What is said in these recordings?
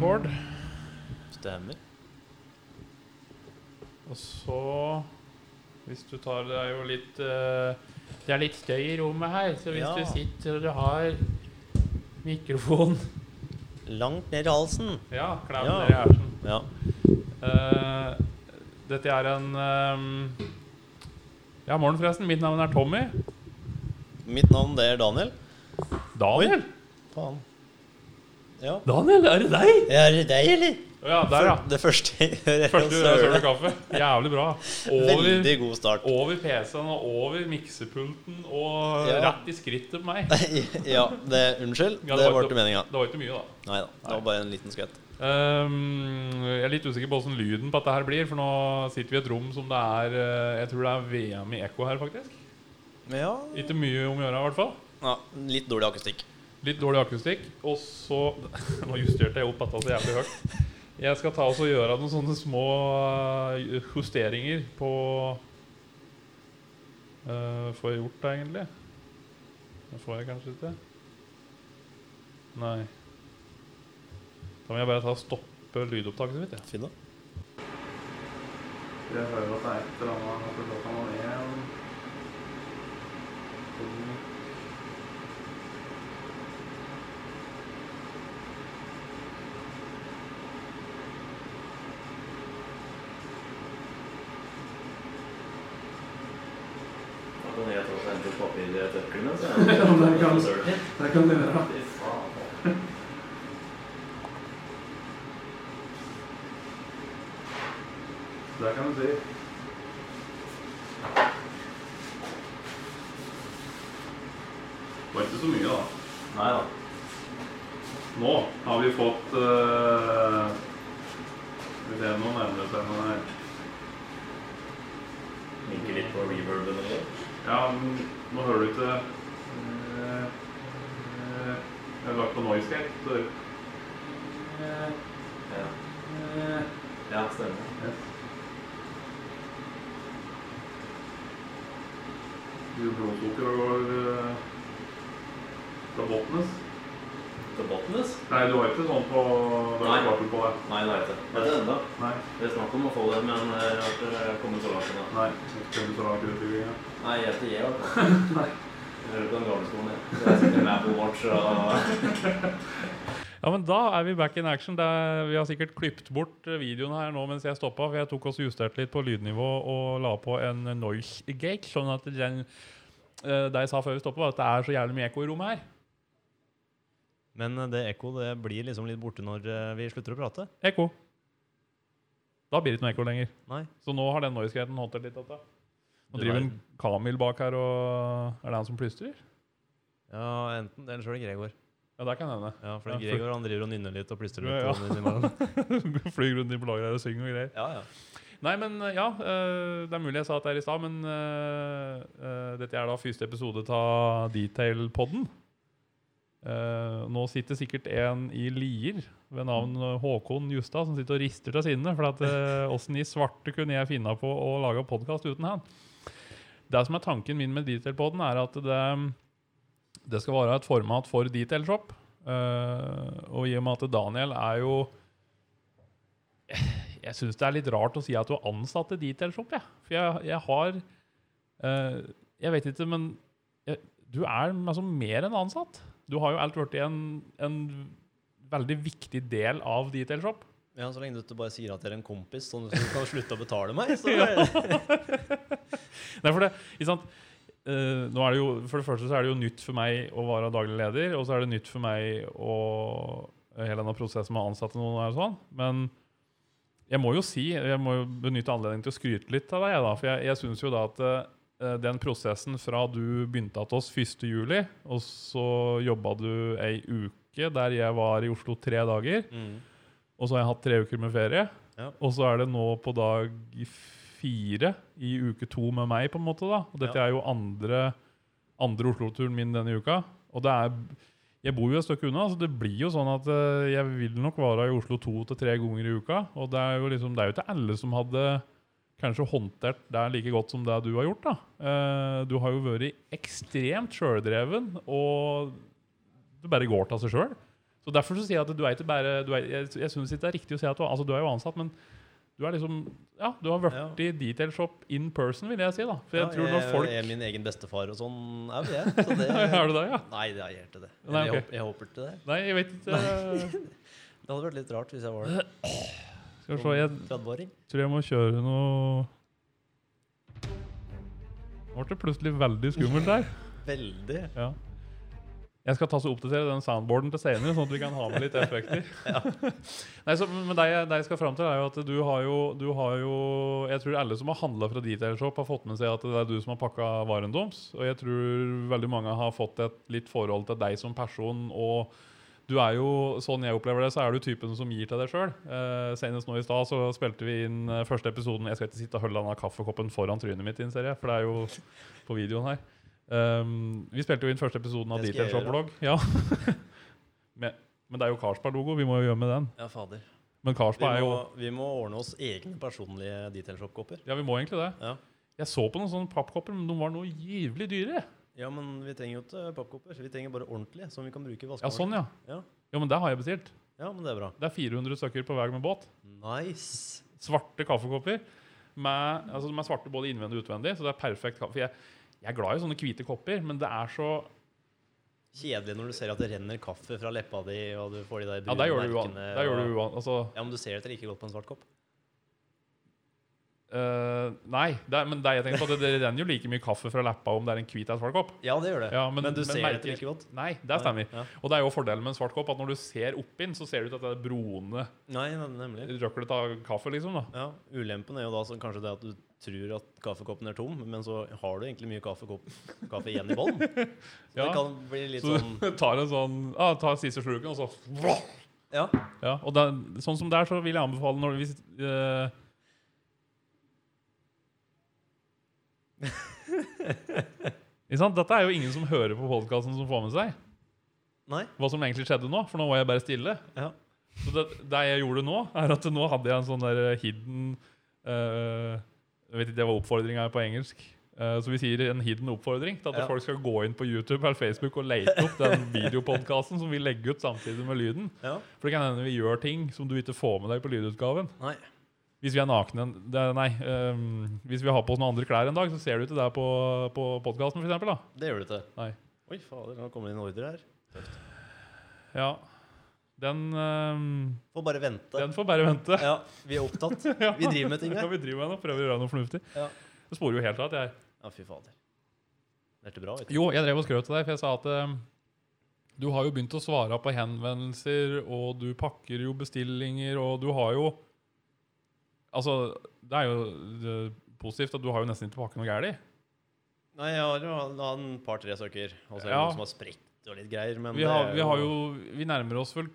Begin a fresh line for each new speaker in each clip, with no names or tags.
Bård.
Stemmer.
Og så Hvis du tar Det er jo litt eh, Det er litt støy i rommet her, så hvis
Ja.
du sitter og du har mikrofon
Langt ned i halsen.
Ja, klem
Ja.
ned i hersen.
Ja.
Eh, dette er en eh, Ja, morgen, forresten. Mitt navn er Tommy.
Mitt navn det er Daniel.
Daniel?
Faen. Ja.
Daniel, er det deg?
Er det deg, eller?
Ja, der, ja.
Det første jeg hører, er
Første
å
søl
søle.
og kaffe. Jævlig bra. Over,
Veldig god start.
over PC-en og over miksepulten og
Ja.
rett i skrittet på meg.
ja, det, unnskyld.
Ja,
det
var
var
ikke-
ikke meninga.
Det var ikke mye, da.
Nei da. Det var bare en liten skvett.
Ehm, jeg er litt usikker på hvordan lyden på dette her blir, for nå sitter vi i et rom som det er eh, Jeg tror det er VM i ekko her, faktisk.
Men ja,
Ikke mye om å gjøre, i hvert fall.
ja Litt dårlig akustikk.
Litt dårlig akustikk. Og så Nå justerte jeg opp dette så jævlig høyt. Jeg skal ta oss og gjøre noen sånne små eh, justeringer på eh, Får jeg gjort det, egentlig? Det får jeg kanskje ikke. Nei. Da må jeg bare ta og stoppe lydopptaket mitt. Ja.
Finn da.
Jeg hører at det er et eller annet for da kan man igjen.
Da kan jeg ta og hente papir i tørklene. så er
Ja, men det kan-
Søren.
Det kan du gjøre.
Fy faen.
Det kan du si.
var ikke så mye, da.
Nei da.
Nå har vi fått eh, Skal vi se, nå nærmer det seg noe her.
Minker litt på reverben og sånn.
Ja, men nå hører du ikke eh, eh, Jeg har lagt på noise gate, så eh,
Ja.
eh,
ja, stemmer.
Mye blodsukker går eh, fra bunnen.
Til Botnes?
Nei, du har ikke sånn på det
Nei.
er svart på deg.
Nei, det er ikke. Det er det enda.
Nei.
Det er snakk om å få det, men eh, jeg har ikke kommet så langt ennå.
Nei. Jeg skal ikke ta utviklingen.
Nei, jeg heter J, altså. Jeg hører på den gamle skolen, jeg. Så jeg sitter med Apple Watch og
Ja, men da er vi back in action. Det er, vi har sikkert klippet bort eh, videoen her nå mens jeg stoppa, for jeg tok også justert litt på lydnivå og la på en noise gate, sånn at den eh, Det jeg sa før vi stoppa, var at det er så jævlig mye ekko i rommet her.
Men eh, det ekko det blir liksom litt borte når vi slutter å prate.
Ekko. Da blir det ikke noe ekko lenger.
Nei.
Så nå har den noise gaten holdt det litt. Dette. Nå
Du
driver en
verden.
Kamil bak her, og er det han som plystrer?
Ja, enten det eller så er det Gregor.
Ja, det kan hende.
Ja, for
Ja, for-
Gregor han driver og nynner litt og plystrer litt.
Ja, ja.
og innimellom.
Flyr rundt i lageret og synger og greier.
ja, ja.
Nei, men ja, eh, det er mulig jeg sa at det er i stad, men eh, eh, dette er da første episode av Detail-podden. Eh, nå sitter sikkert en i Lier ved navn Håkon Justad som sitter og rister av sinne. For at eh, åssen i svarte kunne jeg finne på å lage podkast uten han? Det som er tanken min med Detail-podden, er at det, det skal være et format for Detail Shop. Eh, og i og med at Daniel er jo jeg syns det er litt rart å si at du er ansatt i Detail Shop, jeg. For jeg, jeg har eh, Jeg vet ikke, men jeg, du er altså mer enn ansatt. Du har jo alt blitt en, en veldig viktig del av Detail Shop.
Ja, Så lenge du ikke bare sier at jeg er en kompis, sånn at du kan slutte å betale meg. Så er
Nei, for det, ikke sant? Eh, nå er det jo, for det første så er det jo nytt for meg å være daglig leder, og så er det nytt for meg å hele denne prosessen med å ansette noen og sånn. Men jeg må jo si, jeg må jo benytte anledningen til å skryte litt av deg, jeg da, for jeg, jeg syns jo da at eh, den prosessen fra du begynte hos oss 1. juli, og så jobba du ei uke der jeg var i Oslo tre dager,
Mm.
og så har jeg hatt tre uker med ferie.
Ja.
Og så er det nå på dag fire i uke to med meg, på en måte. da. Og dette
Ja.
er jo andre, andre Oslo-turen min denne uka. Og det er, jeg bor jo et stykke unna, så det blir jo sånn at eh, jeg vil nok være i Oslo to til tre ganger i uka. Og det er jo liksom, det er jo ikke alle som hadde kanskje håndtert det like godt som det du har gjort. da. Eh, Du har jo vært ekstremt sjøldreven, og det bare går til seg sjøl. Så derfor så sier jeg at du er ikke bare du er, Jeg, jeg syns ikke det er riktig å si at du, altså, du er jo ansatt, men du er liksom Ja, du har vært i detail shop in person, vil jeg si, da. For jeg
Ja,
tror når folk
Jeg er min egen bestefar og sånn au, jeg. Så det,
Er du det, ja?
Nei, det er jeg ikke det.
Nei,
jeg,
ok.
håper, jeg håper ikke det.
Nei, jeg vet ikke.
Det hadde vært litt rart hvis jeg var det.
Skal vi se, jeg
30-åring.
tror jeg må kjøre noe Nå ble det plutselig veldig skummelt der.
Veldig.
Ja. Jeg skal ta så oppdatere den soundboarden til senere, sånn at vi kan ha med litt effekter. Nei, så, men det jeg, det jeg skal fram til, er jo at du har jo, du har jo Jeg tror alle som har handla fra Detail Shop, har fått med seg at det er du som har pakka varen deres. Og jeg tror veldig mange har fått et litt forhold til deg som person. og du er jo, sånn jeg opplever det, så er du typen som gir til deg sjøl. Eh, senest nå i stad så spilte vi inn eh, første episoden Jeg skal ikke sitte og holde denne kaffekoppen foran trynet mitt, innser jeg, for det er jo på videoen her. Um, vi spilte jo inn første episoden av
Det skal
Detail
jeg
Shop Vlog. Ja. men, men det er jo Carlsberg-logo. Vi må jo gjøre med den.
Ja, fader.
Men
Vi
Carlsberg er jo
må, vi må ordne oss egne personlige detailshop-kopper.
Ja, vi må egentlig det.
Ja.
Jeg så på noen sånne pappkopper, men de var noe jævlig dyre.
ja, men vi trenger jo ikke pappkopper. Vi trenger bare ordentlige som vi kan bruke i
Ja,
vaskemaskin.
sånn, ja.
Ja.
Jo, men det har jeg bestilt.
Ja, men det er bra.
Det er 400 stykker på vei med båt.
Nice.
Svarte kaffekopper. Med, altså, de er svarte både innvendig og utvendig, så det er perfekt kaffe. Jeg, jeg er glad i sånne hvite kopper, men det er så
Kjedelig når du ser at det renner kaffe fra leppa di, og du får de der
Ja, der gjør du uan... Der gjør du
og-
uan... Altså
Ja, men du ser det ikke like godt på en svart kopp.
eh, Nei, det er, men det jeg tenkte på, det, det renner jo like mye kaffe fra leppa om det er en hvit eller svart kopp.
Ja, det gjør det.
Ja, men-
men, du
men
ser det
merker-
ikke like godt.
Nei, det stemmer.
Ja.
Og det er jo fordelen med en svart kopp, at når du ser opp inn, så ser det ut at det er broende
Nei, nem- nemlig.
røklet av kaffe, liksom. da.
Ja, Ulempen er jo da så kanskje det at du tror at kaffekoppen er tom, men så har du egentlig mye kaffekopp, kaffe igjen i bånn. Så
Ja.
det kan bli litt
Så
sånn
du tar en sånn ah, tar siste slurken, og så
Ja,
Ja, og det, Sånn som det er, så vil jeg anbefale når hvis, eh, Ikke sant? Dette er jo ingen som hører på podkasten som får med seg
Nei.
hva som egentlig skjedde nå. For nå var jeg bare stille.
Ja.
Så det, det jeg gjorde nå, er at nå hadde jeg en sånn der hidden eh, Jeg vet ikke hva oppfordringa er på engelsk. Eh, så vi sier en hidden oppfordring til at
Ja.
folk skal gå inn på YouTube eller Facebook og lete opp den videopodkasten som vi legger ut samtidig med lyden.
ja.
For det kan hende vi gjør ting som du ikke får med deg på lydutgaven.
Nei.
Hvis vi er nakne en- det, er- Nei, ehm, hvis vi har på oss noen andre klær en dag, så ser du ikke det på, på podkasten, f.eks.
Det gjør du ikke.
Nei.
Oi, fader, nå kommer det inn ordre her.
Ja. Den, ehm,
Får bare vente.
den får bare vente.
Ja, vi er opptatt. Vi driver med ting
Ja,
her.
vi driver med det og prøver å gjøre noe fornuftig.
Ja.
Det sporer jo helt av at jeg
Ja, fy fader. Det er bra, vet du.
Jo, jeg drev og skrøt til deg, for jeg sa at eh, du har jo begynt å svare på henvendelser, og du pakker jo bestillinger, og du har jo Altså, det er jo eh, positivt at du har jo nesten ikke pakket noe galt i.
Nei, jeg har jo hatt hatt en par-tre stykker. Og så er det
Ja.
noen som har sprukket og litt greier. Men
Vi,
det
har-
er
vi har jo Vi nærmer oss vel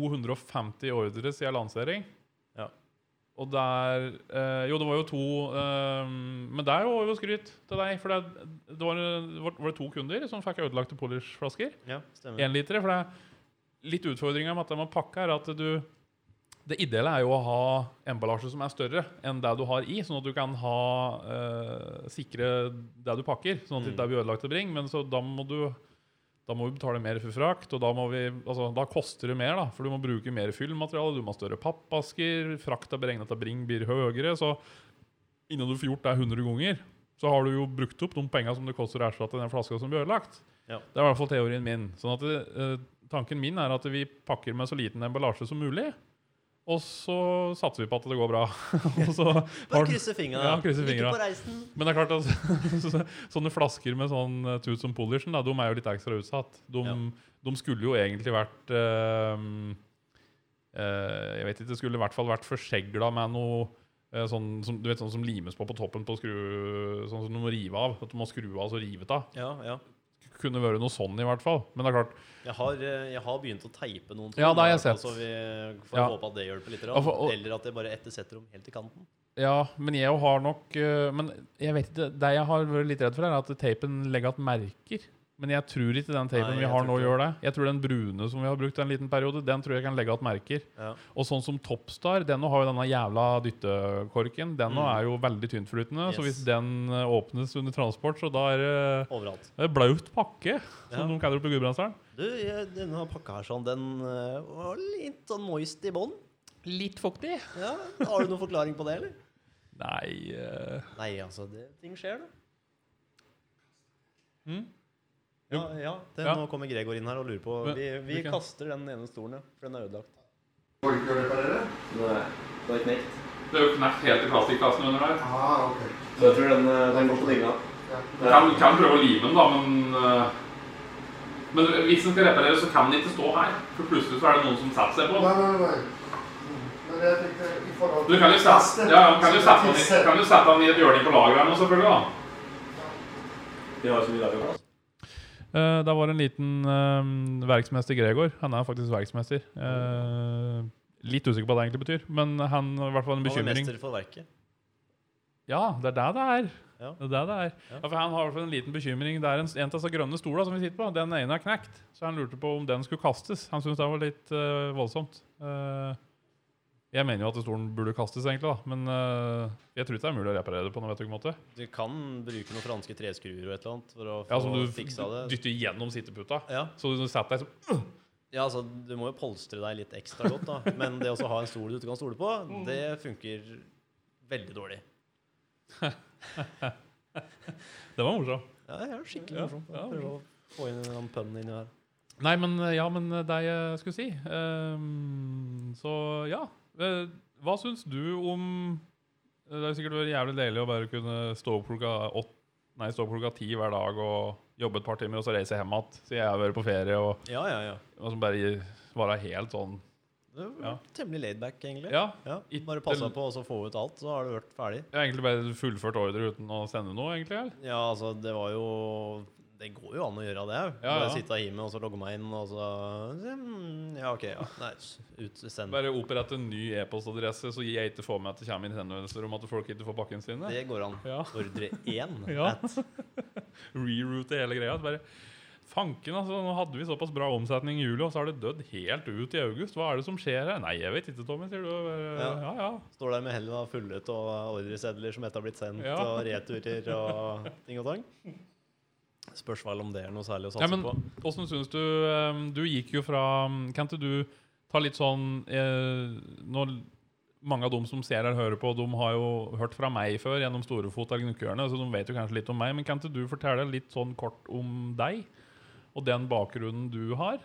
250 ordre siden lansering.
Ja.
Og der eh, Jo, det var jo to eh, Men der var jo skryt til deg. For det, det var, var var det to kunder som fikk ødelagte polishflasker.
Ja, stemmer.
Enlitere. For det er litt utfordringa med at de har pakka, er at du Det ideelle er jo å ha emballasje som er større enn det du har i, sånn at du kan ha eh, sikre det du pakker, sånn at det
Mm.
ikke blir ødelagt til bring. Men så da må du da må vi betale mer for frakt, og da, må vi, altså, da koster det mer. da, For du må bruke mer fyllmateriale, du må ha større pappasker, frakta beregna til bring blir høyere. Så innen du får gjort det 100 ganger, så har du jo brukt opp de penga som det koster å erstatte den flaska som blir ødelagt.
Ja.
Det er i hvert fall teorien min. Sånn at eh, Tanken min er at vi pakker med så liten emballasje som mulig, og så satser vi på at det går bra. og så
Bare
har den-
krysse fingra.
Ja, krysse fingra.
Ikke på reisen.
men det er klart at så- så- sånne flasker med sånn eh, tooth and polishen, da, de er jo litt ekstra utsatt. De,
Ja.
de skulle jo egentlig vært eh, eh, Jeg vet ikke, det skulle i hvert fall vært forsegla med noe eh, Sånn som, du vet, sånn som limes på på toppen på skru Sånn som du må rive av. At du må skru av og så rive av.
Ja, ja.
Kunne vært noe sånn, i hvert fall. Men det er klart
Jeg har, eh, jeg har begynt å teipe noen
Ja, det har jeg
i hvert
sett.
fall, Så vi får
Ja.
håpe at det hjelper litt.
Ja, for- og-
Eller at jeg bare ettersetter dem helt til kanten.
Ja, men jeg eh, har nok øh, Men jeg vet ikke, det jeg har vært litt redd for, er at teipen legger igjen merker. Men jeg tror ikke den
Nei,
tapen vi
jeg
har
tror
nå,
ikke
gjør det. Jeg tror den brune som vi har brukt en liten periode, den tror jeg kan legge igjen merker.
Ja.
Og sånn som Topstar, den nå har jo denne jævla dyttekorken. Den nå
Mm.
er jo veldig tyntflytende, så
Yes.
hvis den eh, åpnes under transport, så da er det-
Overalt.
det er blaut pakke, som
Ja.
de kaller det på Gudbrandsdalen.
Du, jeg, denne pakka her sånn, den eh, var litt sånn moist i bånn.
Litt fuktig.
Ja, har du noen forklaring på det, eller?
Nei eh,
Nei, altså, det, ting skjer, da.
Mm.
Ja, ja, det,
Ja.
nå kommer Gregor inn her og lurer på
Men,
Vi, vi
hvilken?
kaster den ene stolen, ja, for den er ødelagt.
Får ikke reparere?
Nei, det er knekt.
Det er jo knekt helt i plastikkassen under der.
Ah, ok.
Så jeg tror den, eh, den går på dynga.
Ja.
Det er-
kan prøve å lime den, da, men eh, Men hvis den skal reparere, så kan den ikke stå her. For plutselig så er det noen som setter seg
Nei, nei, nei. Mm. Men jeg tenkte i forhold
Du kan jo sette,
testet,
ja, ja, kan jo
så
sette, han,
tisser.
i, kan jo sette han i et hjørne på lageret nå, selvfølgelig. da.
Vi har jo så mye lagerplass.
Eh, der var en liten eh, verksmester Gregor. Han er faktisk verksmester. Eh, litt usikker på hva det egentlig betyr, men han har i hvert fall en
Han er
bekymring.
mester for verket.
Ja, det er det det er.
Ja.
Det er det det er. Ja.
Ja.
for han har i hvert fall en liten bekymring. Det er en, en av disse grønne stolene som vi sitter på. Den ene er knekt, så han lurte på om den skulle kastes. Han syntes det var litt eh, voldsomt. Eh, jeg mener jo at stolen burde kastes, egentlig, da. men eh, jeg tror ikke det er mulig å reparere det på noen vet du, måte.
Du kan bruke noen franske treskruer og et eller annet for å
Ja,
få
som du
fiksa det.
dytter gjennom sitteputa.
Ja.
Så du setter deg så
ja, altså, du må jo polstre deg litt ekstra godt, da. Men det å så ha en stol du ikke kan stole på, det funker veldig dårlig.
Det var morsomt.
Ja, det er skikkelig
Ja,
morsomt.
ja,
Prøve å få inn den pønnen inni her.
Nei, men eh, ja, men eh, det jeg skulle si ehm, Så ja. Eh, Hva syns du om eh, Det har jo sikkert vært jævlig deilig å bare kunne stå opp klokka åt- Nei, stå opp klokka ti hver dag og jobbe et par timer, og så reise hjem igjen. Så jeg har vært på ferie og,
Ja, ja, ja.
og så bare være helt sånn
Det var
Ja.
Temmelig laidback, egentlig.
Ja.
Ja,
Ikke-
Bare passa på å så få ut alt, så har det vært ferdig.
Jeg har egentlig bare fullført ordre uten å sende noe, egentlig. eller?
Ja, altså, det var jo Det går jo an å gjøre det òg.
Ja, ja.
Bare sitte hjemme og så logge meg inn, og så mm, Ja, OK. ja. Nei, s- ut, send.
Bare opprette en ny e-postadresse, så jeg ikke får med at det kommer inn henvendelser om at folk ikke får pakkene sine.
Det går an.
Ja.
Ordre én.
Ja.
at-
reroute hele greia. så Bare, Fanken, altså, nå hadde vi såpass bra omsetning i juli, og så har det dødd helt ut i august. Hva er det som skjer her? Nei, jeg vet ikke, Tommy, sier du. og Bare, ja.
Ja.
ja,
Står der med hella fullet og ordresedler som etter har blitt sendt,
Ja.
og returer og ting og tang. Spørs vel om det er noe særlig å satse
Nei, men
på.
hvordan syns du ehm, Du gikk jo fra um, Kan ikke du ta litt sånn eh, Når mange av dem som ser her, hører på, de har jo hørt fra meg før gjennom Storefot eller Gnukkehjørnet, så de vet jo kanskje litt om meg, men kan ikke du fortelle litt sånn kort om deg? Og den bakgrunnen du har?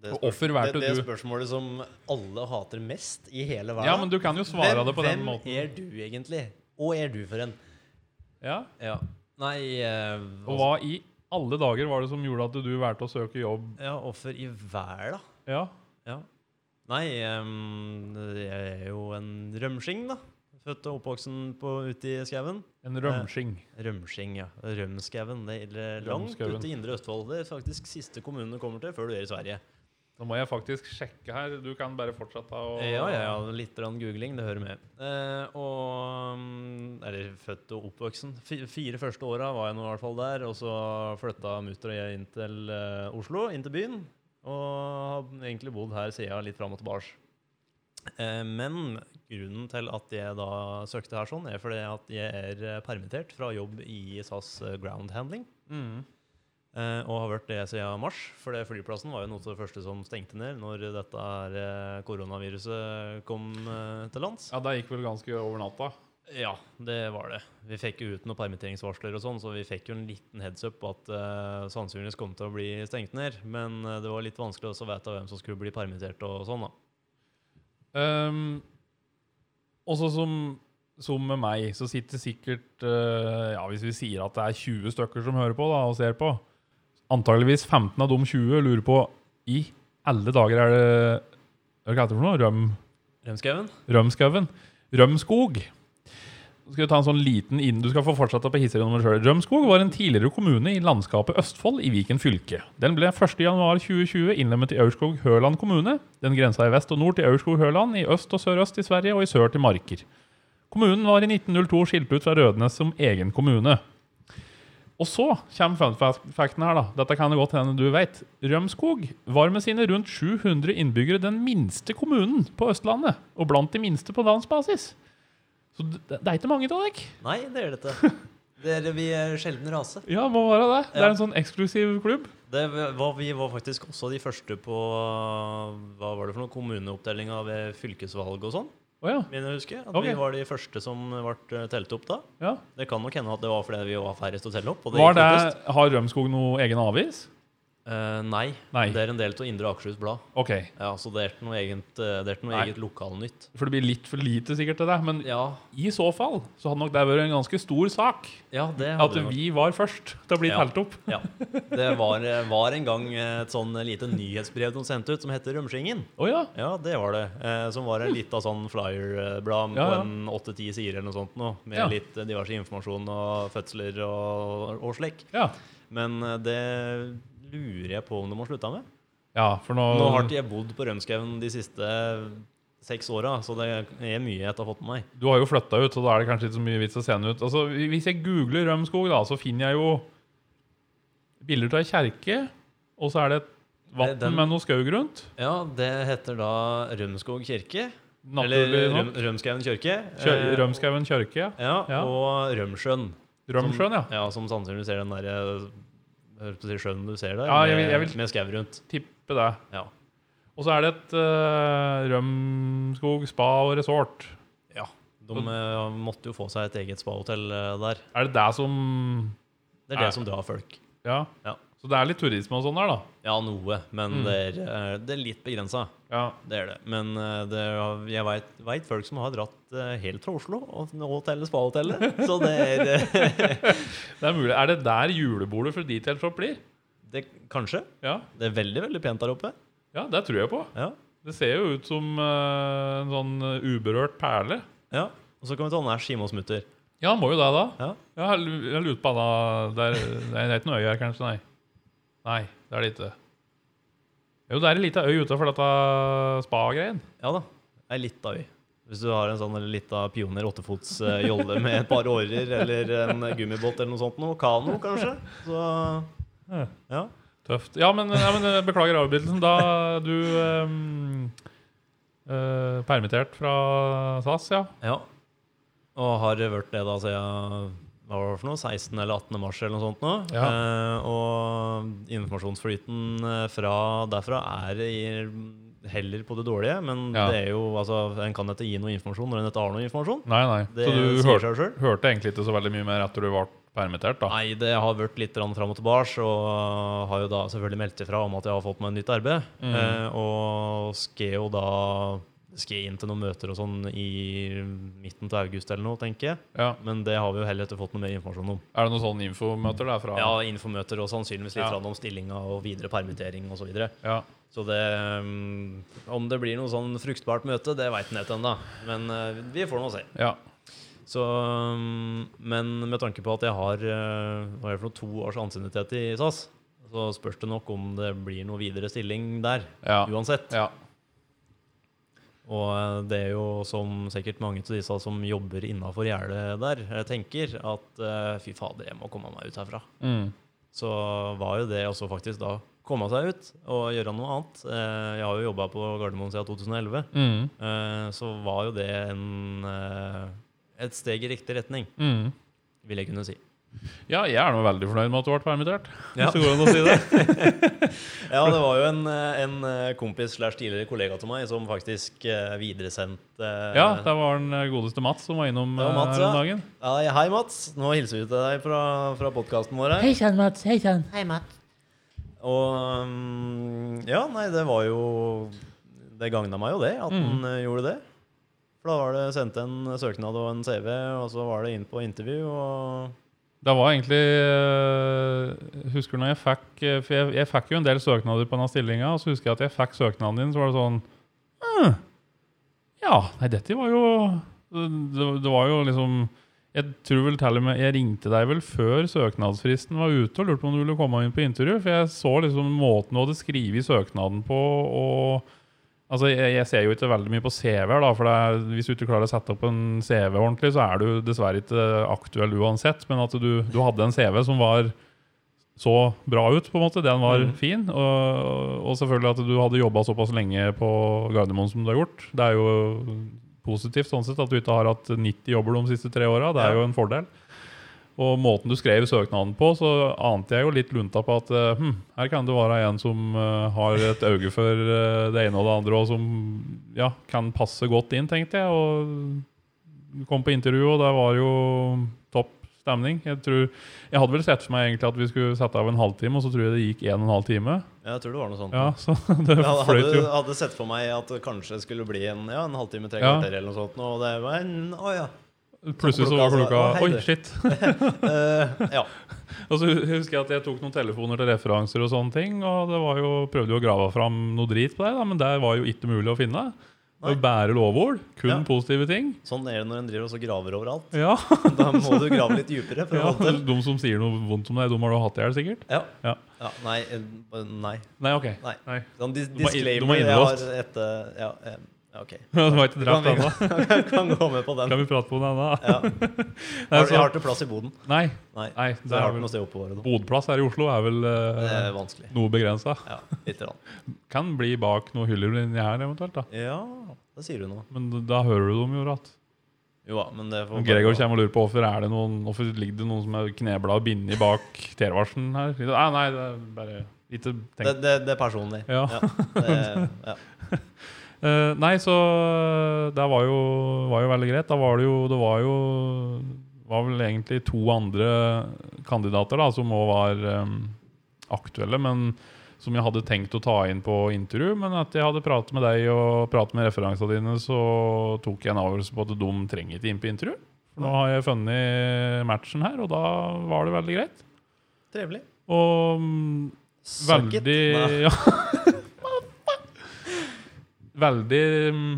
Det,
Og offer valgte
det,
du.
det spørsmålet som alle hater mest i hele verden.
Ja, men du kan jo svare det på den
hvem
måten.
er du egentlig? Og er du for en?
Ja?
Ja. Nei eh,
Og hva i alle dager var det som gjorde at du valgte å søke jobb?
altså, Ja, offer i verden.
Ja,
Ja. Nei, eh, jeg er jo en rømsking, da. Født og oppvoksen på, ute i skauen.
En rømsking.
Rømsking, ja. Rømskauen. Det er langt
Rømskauen.
ute i indre Østfold. Det er faktisk siste kommunen du kommer til før du er i Sverige.
Nå må jeg faktisk sjekke her. Du kan bare fortsette å
Ja, ja, ja. Litt grann googling, det hører med. Eh, og mm, Eller født og oppvoksen. Fi- Fire første åra var jeg nå i hvert fall der. Og så flytta mutter og jeg inn til eh, Oslo, inn til byen. Og har egentlig bodd her siden litt fram og tilbake. Eh, men grunnen til at jeg da søkte her sånn, er fordi at jeg er eh, permittert fra jobb i SAS eh, Ground Handling.
Mm.
Eh, og har vært det siden mars, for det flyplassen var jo noe av det første som stengte ned når dette her, eh, koronaviruset kom eh, til lands.
Ja, det gikk vel ganske over natta.
Ja, det var det. Vi fikk jo ut noen permitteringsvarsler og sånn, så vi fikk jo en liten heads up på at eh, sannsynligvis kom til å bli stengt ned. Men eh, det var litt vanskelig også å vite hvem som skulle bli permittert og sånn, da.
Um, også som, som med meg, så sitter sikkert eh, Ja, hvis vi sier at det er 20 stykker som hører på da, og ser på, antageligvis 15 av de 20 lurer på I alle dager er det Hva heter det for noe? Røm?
Remskauen?
Rømskauen. Rømskog. Nå skal vi ta en sånn liten inn. Du skal få fortsette på historien om deg selv. Rømskog var en tidligere kommune i landskapet Østfold i Viken fylke. Den ble 1.1.2020 innlemmet i Aurskog-Høland kommune. Den grensa i vest og nord til Aurskog-Høland, i øst og sørøst i Sverige og i sør til Marker. Kommunen var i 1902 skilt ut fra Rødnes som egen kommune. Og så kommer fun fact- facten her, da. Dette kan det godt hende du vet. Rømskog var med sine rundt 700 innbyggere den minste kommunen på Østlandet. Og blant de minste på landsbasis. Så det, det er ikke mange av dere.
Nei, det er dette. Dere, vi er sjelden rase.
Ja, må være det. Det er
Ja.
en sånn eksklusiv klubb.
Det var, vi var faktisk også de første på Hva var det for noe? Kommuneoppdelinga ved fylkesvalg og sånn.
Å ja.
Mener jeg å huske. At
Ok.
vi var de første som ble eh, telt opp da.
ja.
Det kan nok hende at det var fordi vi var færrest å telle opp. Og det
Var
gikk
det,
fortest.
har Rømskog noe egen avis?
Eh, nei.
Nei.
Det er en del av Indre Akershus Blad.
Ok.
Ja, så det er ikke noe eget, eh, det er ikke noe
Nei.
eget lokalnytt.
For det blir litt for lite sikkert til deg. Men
Ja,
i så fall så hadde nok det vært en ganske stor sak
ja det hadde
at
vi nok.
vi var først til å bli
Ja.
telt opp.
Ja. Det var, eh, var en gang et sånn lite nyhetsbrev de sendte ut, som heter Rømskingen.
Å ja.
Ja, det var det. Eh, som var en lita sånn flyer-blad
Ja, ja.
på en åtte-ti sider eller noe sånt nå, med
Ja.
litt eh, diverse informasjon og fødsler og, og slik.
ja.
Men eh, det lurer jeg på om de har slutta med.
Ja, for nå,
Nå har ikke jeg bodd på Rømskauen de siste seks åra, så det er mye jeg ikke har fått med meg.
Du har jo flytta ut, så da er det kanskje ikke så mye vits å se den ut. Altså, Hvis jeg googler Rømskog, da, så finner jeg jo bilder av ei kjerke, og så er det et
Det er den-
vann med noe skaug rundt.
Ja, det heter da Rømskog kirke. Eller
Naturlig
Røm,
nok.
Rømskauen kirke.
Kjø-
Eh,
Rømskauen kirke. ja.
Ja,
Ja.
og Rømsjøen.
Rømsjøen, ja.
Ja, som sannsynligvis er den der eh, jeg holdt på å si sjøen du ser der,
Ja, jeg vil-
med-
jeg vil-
med skau rundt.
Tipper det.
Ja.
Og så er det et eh, Rømskog spa og resort.
De eh, måtte jo få seg et eget spahotell eh, der.
Er det det som
Det er det
Ja.
som drar folk.
Ja.
Ja.
Så det er litt turisme og sånn der, da.
Ja, noe, men
Mm.
det, er, eh, det er litt begrensa.
Ja.
Det er det. Men eh, det, er- jeg veit folk som har dratt eh, helt fra Oslo og nå til spahotellet. Så det er eh,
Det er mulig. Er det der julebordet for Detail Shop blir?
det, Kanskje.
Ja.
Det er veldig, veldig pent der oppe.
ja, det tror jeg på.
Ja.
Det ser jo ut som eh, en sånn eh, uberørt perle.
ja. Og så kan vi ta Nærs Simonsmutter.
Ja, han må jo det, da.
Ja.
Ja, jeg lu- jeg lurer på han da Det er- det er ikke noe øy her, kanskje? Nei. Nei, det er det ikke. Jo, det er ei lita øy utafor dette spa-greien.
Ja da. Ei lita øy. Hvis du har en sånn lita pioner åttefots eh, jolle med et par årer eller en gummibåt eller noe sånt noe. Kano, kanskje. Så ja.
Tøft. Ja, men, nei, men eh, beklager avbrytelsen. Da du ehm, eh, Permittert fra SAS, ja.
ja. Og har vært det da siden hva var det for noe? 16. eller 18. mars eller noe sånt nå.
Ja.
Eh, og informasjonsflyten eh, fra derfra er i, heller på det dårlige, men
Ja.
det er jo altså En kan ikke gi noe informasjon når en ikke har noe informasjon.
Nei, nei.
Det
Så du
sier
hørte,
seg sjøl.
hørte egentlig ikke så veldig mye mer etter du ble permittert, da?
Nei, det har vært litt rann fram og tilbake, og har jo da selvfølgelig meldt ifra om at jeg har fått meg nytt arbeid.
Mm.
Eh, og skal jo da skal inn til noen møter og sånn i midten av august eller noe, tenker jeg.
Ja.
Men det har vi jo heller ikke fått noe mer informasjon om.
Er det noen sånne infomøter der fra?
Ja, infomøter og sannsynligvis
Ja.
litt rann om stillinga og videre permittering osv. Så, videre.
Ja.
så det mm, Om det blir noe sånn fruktbart møte, det veit en ikke ennå. Men eh, vi får nå se.
ja.
Så, um, men med tanke på at jeg har eh, hva er det for noe, to års ansiennitet i SAS, så spørs det nok om det blir noe videre stilling der,
Ja.
uansett.
ja.
Og eh, det er jo som sikkert mange av disse som jobber innafor gjerdet der, eh, tenker, at eh, fy fader, jeg må komme meg ut herfra.
Mm.
Så var jo det også faktisk da komme seg ut og gjøre noe annet. Eh, Jeg har jo jobba på Gardermoen siden 2011,
Mm.
eh, så var jo det en, eh, et steg i riktig retning,
Mm.
vil jeg kunne si.
Ja, jeg er nå veldig fornøyd med at du ble permittert.
Ja.
Hvis det går an å si det.
Ja, det var jo en, eh, en eh, kompis slash tidligere kollega til meg som faktisk eh, videresendte eh,
Ja, der var den eh, godeste Mats som var innom
Det var
eh,
Mats,
her om
ja.
dagen.
ja, Hei, Mats. Nå hilser vi til deg fra, fra podkasten vår. her.
Hei sann, Mats. Hei sann.
Og mm, ja, nei, det var jo Det gagna meg jo det,
Mm.
at han eh, gjorde det. For da var det sendt en søknad og en CV, og så var det inn på intervju, og
Det var egentlig eh, Husker du når jeg fikk eh, For jeg, jeg fikk jo en del søknader på denne stillinga, og så husker jeg at jeg fikk søknaden din, så var det sånn «Hm, Ja, nei, dette var jo Det, det var jo liksom jeg tror vel til og med, jeg ringte deg vel før søknadsfristen var ute og lurte på om du ville komme inn på intervju. For jeg så liksom måten du hadde skrevet søknaden på, og Altså, jeg, jeg ser jo ikke veldig mye på CV-er, da, for det er, hvis du ikke klarer å sette opp en CV ordentlig, så er du dessverre ikke aktuell uansett, men at du, du hadde en CV som var så bra ut, på en måte, den var
Mhm.
fin, og, og selvfølgelig at du hadde jobbet såpass lenge på Gardermoen som du har gjort. Det er jo positivt sånn sett at du ikke har hatt 90 jobber de siste tre årene, det er
Ja.
jo en fordel. Og måten du skrev søknaden på, så ante jeg jo litt lunta på at eh, hm, her kan det være en som eh, har et øye for eh, det ene og det andre, og som ja, kan passe godt inn, tenkte jeg. Og kom på intervju, og der var jo topp stemning. Jeg, tror, jeg hadde vel sett for meg egentlig at vi skulle sette av en halvtime, og så tror jeg det gikk en og en halv time.
Jeg tror det var noe sånt.
Ja, så det
Jeg
fløyt
hadde,
jo.
hadde sett for meg at det kanskje skulle bli en, ja, en halvtime, tre
Ja.
kvarter eller noe sånt. nå, Og det var en, å ja.
Plutselig så var
klokka,
klokka
altså, å, hei,
Oi,
du.
shit!
Eh, ja.
Og så husker jeg at jeg tok noen telefoner til referanser og sånne ting, og det var jo, prøvde jo å grave fram noe drit på det, da, men det var jo ikke mulig å finne. Det var jo bare lovord, kun
Ja.
positive ting.
Sånn er det når en driver og så graver overalt.
Ja,
Da må du grave litt dypere. for å
ja.
få til.
De som sier noe vondt om deg, de har du hatt i hjel, sikkert?
Ja.
Ja.
ja. Nei. eh, Nei.
Nei, OK.
Nei.
Nei.
Sånn dis
Du må inn- du må
disclaimer. Jeg har
innlåst.
etter Ja, eh, ja, OK.
Du var ikke drept ennå.
Kan gå med på den.
Kan vi prate på den ennå?
Ja.
Nei,
Har, jeg
så-
har ikke plass i boden.
Nei.
Nei.
Nei det
Så jeg har
er
ikke
vel,
noe sted å oppbevare det.
bodplass her i Oslo er vel
Det
eh,
er vanskelig.
noe begrensa.
Ja, lite grann.
Kan bli bak noen hyller inni her eventuelt, da.
Ja, det sier du noe.
Men da hører du dem jo ratt.
Jo da, men det får
Og Gregor kommer og lurer på hvorfor, er det noen, hvorfor ligger det noen som er knebla og bindet bak T-varsen her. Nei, nei, det er bare ikke
det,
tenkt.
det, det er personlig.
Ja.
det, ja.
Eh, nei, så det var jo, var jo veldig greit. Da var det jo Det var jo var vel egentlig to andre kandidater da som òg var eh, aktuelle, men som jeg hadde tenkt å ta inn på intervju. Men etter jeg hadde pratet med deg og pratet med referansene dine, så tok jeg en avgjørelse på at de trenger ikke inn på intervju. For nå har jeg funnet matchen her, og da var det veldig greit.
Trevelig.
Og mm,
Suck it.
veldig
Nei.
ja. Veldig mm,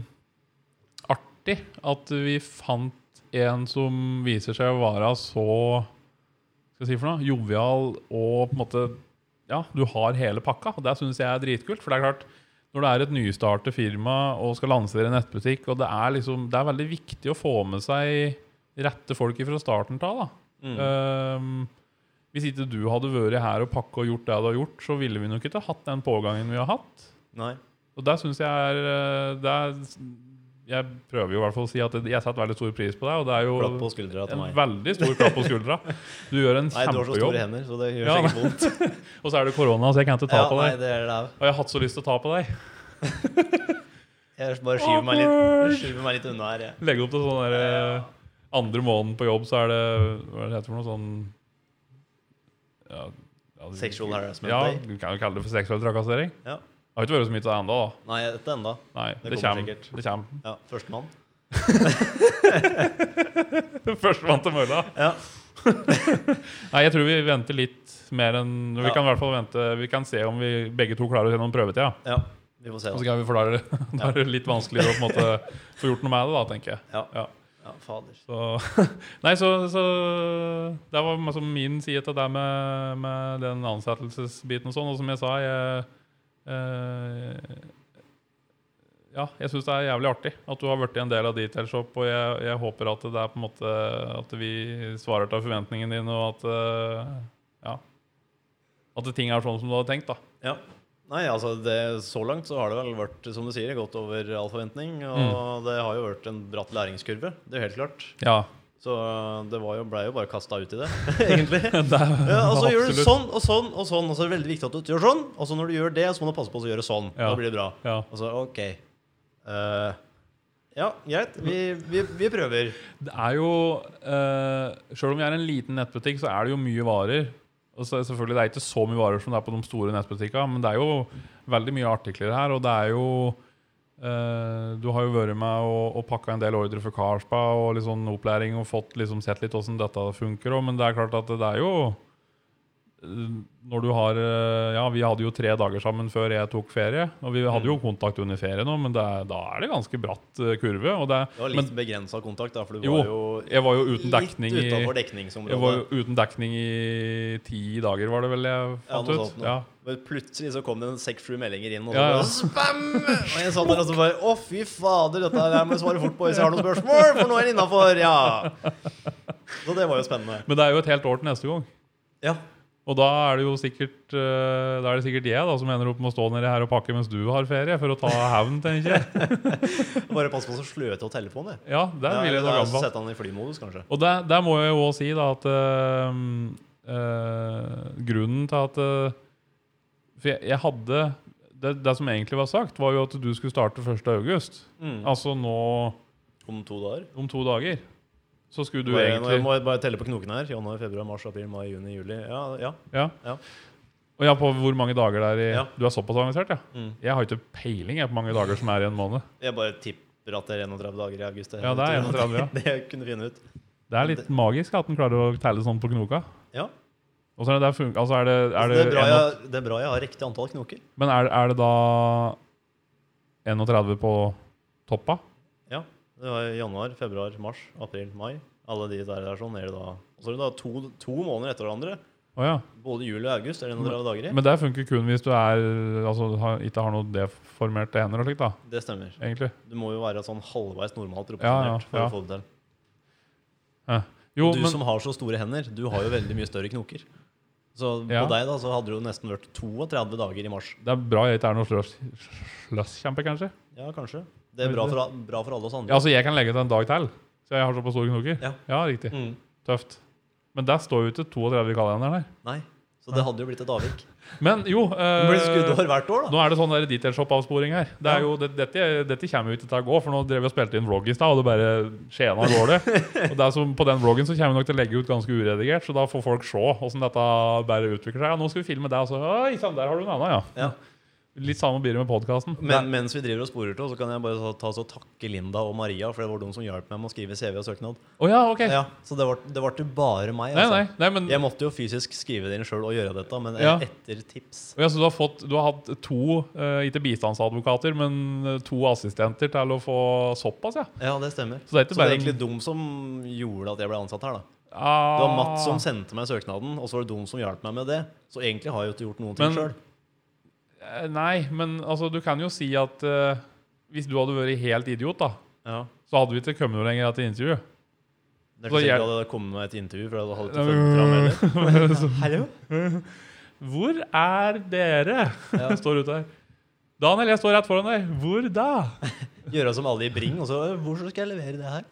artig at vi fant en som viser seg å være så skal jeg si for noe, jovial og på en måte Ja, du har hele pakka. og Det syns jeg er dritkult. For det er klart, når det er et nystartet firma og skal lansere en nettbutikk, og det er liksom, det er veldig viktig å få med seg rette folk fra starten av. da.
Mm.
Ehm, hvis ikke du hadde vært her og pakka og gjort det du har gjort, så ville vi nok ikke hatt den pågangen vi har hatt.
Nei.
Og der syns jeg er, eh, det er Jeg prøver jo i hvert fall å si at jeg setter veldig stor pris på deg, og det er
Klapp på
jo
skuldra til
en
meg.
veldig stor klapp på skuldra. Du gjør en
Nei, du har så store
kjempejobb.
hender, så det gjør
Ja,
sikkert vondt.
Og så er det korona, så jeg kan ikke ta
Ja,
på
nei,
deg.
det er det der.
Og jeg har hatt så lyst til å ta på deg.
Jeg bare skyver meg
Awkward.
litt, skyver meg litt unna her, jeg.
Legge opp til sånn derre Andre måneden på jobb, så er det Hva er det heter for noe sånn ja, ja,
Sexual harassment
Ja,
day.
du kan jo kalle det for seksuell trakassering.
Ja.
Det har ikke vært så mye til det ennå, da.
Nei, dette enda.
Nei,
Det
det,
kommer
kommer.
sikkert.
Det kommer.
Ja, Førstemann.
Førstemann til mølla.
Ja.
Nei, jeg tror vi venter litt mer enn Vi
Ja.
kan i hvert fall vente Vi kan se om vi begge to klarer å gjennom prøvetida.
ja. Vi får se.
Og så
Da.
kan vi forklare det. Da er det litt vanskeligere å på en måte få gjort noe med det, da, tenker jeg.
Ja.
Ja.
ja, fader.
Så, nei, så, så Det var altså min side til det med, med den ansettelsesbiten og sånn. Og som jeg sa, jeg eh, Ja, jeg syns det er jævlig artig at du har blitt en del av Detailshop. Og jeg, jeg håper at det er på en måte At vi svarer til forventningene dine, og at eh, Ja. At ting er sånn som du hadde tenkt, da.
Ja. Nei, altså det, Så langt så har det vel vært som du sier, godt over all forventning. Og
Mm.
det har jo vært en bratt læringskurve. Det er jo helt klart.
Ja.
Så det var jo, ble jo bare kasta ut i det, egentlig.
Det er,
Ja, og så gjør du
absolutt.
sånn og sånn og sånn. Og så er det veldig viktig at du gjør sånn. Og så når du gjør det, så må du passe på å gjøre sånn.
Ja.
Da blir det bra.
Ja.
Og så OK. Eh, ja, greit. Vi, vi, vi prøver.
Det er jo uh, Selv om vi er en liten nettbutikk, så er det jo mye varer. Og så, selvfølgelig, Det er ikke så mye varer som det er på de store nettbutikkene, men det er jo veldig mye artikler her. Og det er jo eh, Du har jo vært med og, og pakka en del ordre for Karspa og litt sånn opplæring og fått liksom sett litt åssen dette funker. Og, men det er klart at det er jo når du har eh, Ja, vi hadde jo tre dager sammen før jeg tok ferie. Og vi hadde
Mm.
jo kontakt under ferie nå, men det, er- da er det ganske bratt eh, kurve. Og det,
Det var litt
men
begrensa kontakt, da, for du
Jo,
var jo,
jeg var jo uten dekning
litt
i
utafor
jeg var
dekningsområdet.
jo uten dekning i ti dager, var det vel jeg
Ja,
fant
noe sånt
ut?
noe.
Ja.
Men plutselig så kom det en seks-sju meldinger inn, og så
Ja, ja.
bare spam! Og jeg satt der og så bare Å, fy fader, dette her må jeg svare fort på hvis jeg har noen spørsmål, for nå er det innafor! Ja. Så det var jo spennende.
Men det er jo et helt år til neste gang.
Ja.
Og da er det jo sikkert eh, Da er det sikkert jeg da som ender opp med å stå nedi her og pakke mens du har ferie, for å ta hevn, tenker jeg.
Bare pass på så slø til å telefone.
Ja, det vil jeg nok anbefale.
Sett han i flymodus, kanskje.
Og der, der må jeg jo òg si da at eh, eh, grunnen til at eh, For jeg, jeg hadde det, det som egentlig var sagt, var jo at du skulle starte 1. august.
Mm.
Altså nå
Om to dager.
om to dager. Så skulle du
Bare-
egentlig
Nå må jeg bare telle på knokene her. Januar, februar, mars, april, mai, juni, juli. Ja, ja.
Ja.
Ja.
Og ja, på hvor mange dager det er i
Ja.
Du er såpass avansert, ja?
Mm.
Jeg har ikke peiling jeg, på mange dager som er i en måned.
Jeg bare tipper at det er 31 dager i august.
Ja, det er 31, ja.
Det jeg kunne finne ut.
Det er litt magisk at den klarer å telle sånn på knoka.
Ja.
Og så er det der fun- altså er det, er
det,
det,
er bra
en-
jeg, det er bra jeg har riktig antall knoker.
Men er, er det da 31 på toppa?
Ja. Det var januar, februar, mars, april, mai. Alle de der, der sånn er det da. Og så er det da to, to måneder etter hverandre.
Å ja.
Både juli og august er det 31 dager i.
Men det funker kun hvis du er, altså, har, ikke har noe deformerte hender og slikt, da.
Det stemmer.
Egentlig.
Du må jo være sånn halvveis normalt
Ja, ja,
proporsjonert for
ja.
å få det til.
Jo,
du
men,
som har så store hender, du har jo veldig mye større knoker. Så
Ja.
på deg da, så hadde det jo nesten vært 32 dager i mars.
det er bra jeg ikke er noe sløs, sløskjempe, kanskje.
Ja, kanskje. Det er bra for, a- bra for alle oss
Ja,
andre.
altså, jeg kan legge til en dag til, så jeg har såpass store knoker.
Ja.
riktig.
Mm.
Tøft. Men der står jo ikke 32 i kalenderen her.
Nei. Så det hadde jo blitt et avvik.
Men jo eh,
Det blir skuddår hvert år, da.
Nå er det sånn der detailshop-avsporing her. Det er
Ja.
jo, det, dette, dette kommer jo ikke til å gå, for nå drev vi og spilte inn vlogg i stad, og det bare skjena av gårde. og det er som, på den vloggen så kommer vi nok til å legge ut ganske uredigert, så da får folk se åssen dette bare utvikler seg. Ja, nå skal vi filme det, og så Oi sann, der har du en annen, ja.
Ja.
Litt samme blir det med podkasten.
Men mens vi driver og sporer til, så kan jeg bare ta, ta så takke Linda og Maria, for det var de som hjalp meg med å skrive CV og søknad.
Å ja, ok.
Ja, så det ble, det ble bare meg.
Nei, nei,
Altså.
nei, men
Jeg måtte jo fysisk skrive det inn sjøl og gjøre dette, men
Ja.
etter tips.
Å ja, så du har, fått, du har hatt to, eh, ikke bistandsadvokater, men eh, to assistenter til å få såpass, ja?
Ja, det stemmer.
Så det er ikke
Så det
bare
er
en-
egentlig de som gjorde at jeg ble ansatt her, da.
Ah.
Det var Matt som sendte meg søknaden, og så var det de som hjalp meg med det. Så egentlig har jeg jo ikke gjort noen ting
Men-
sjøl.
Eh, Nei, men altså, du kan jo si at eh, hvis du hadde vært helt idiot, da,
Ja.
så hadde vi ikke kommet noe lenger etter intervjuet.
Det er
Så
ikke sikkert
hjel-
at det kom med et intervju, for jeg hadde ikke funnet fram
sånn.
heller. Hallo?
Hvor er dere?
Ja.
står ute her. Daniel, jeg står rett foran deg. Hvor da?
Gjøre som alle i Bring, og så «Øh, Hvor skal jeg levere det her?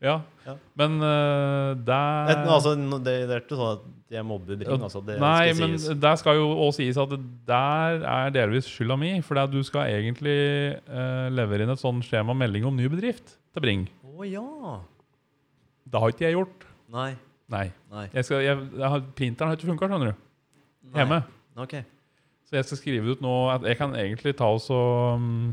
Ja,
Ja.
men eh,
Et,
der
altså, no- det, det er ikke sånn at jeg mobber Bring, altså. Det
Nei,
skal
men
sies.
der skal jo også sies at det der er delvis skylda mi. For det at du skal egentlig eh, levere inn et sånt skjema melding om ny bedrift til Bring.
Å ja.
Det har ikke jeg gjort.
Nei.
Nei.
Nei.
Jeg skal, jeg, jeg har, printeren har ikke funka, skjønner du.
Nei.
Hjemme.
Ok.
Så jeg skal skrive det ut nå at Jeg kan egentlig ta og så um,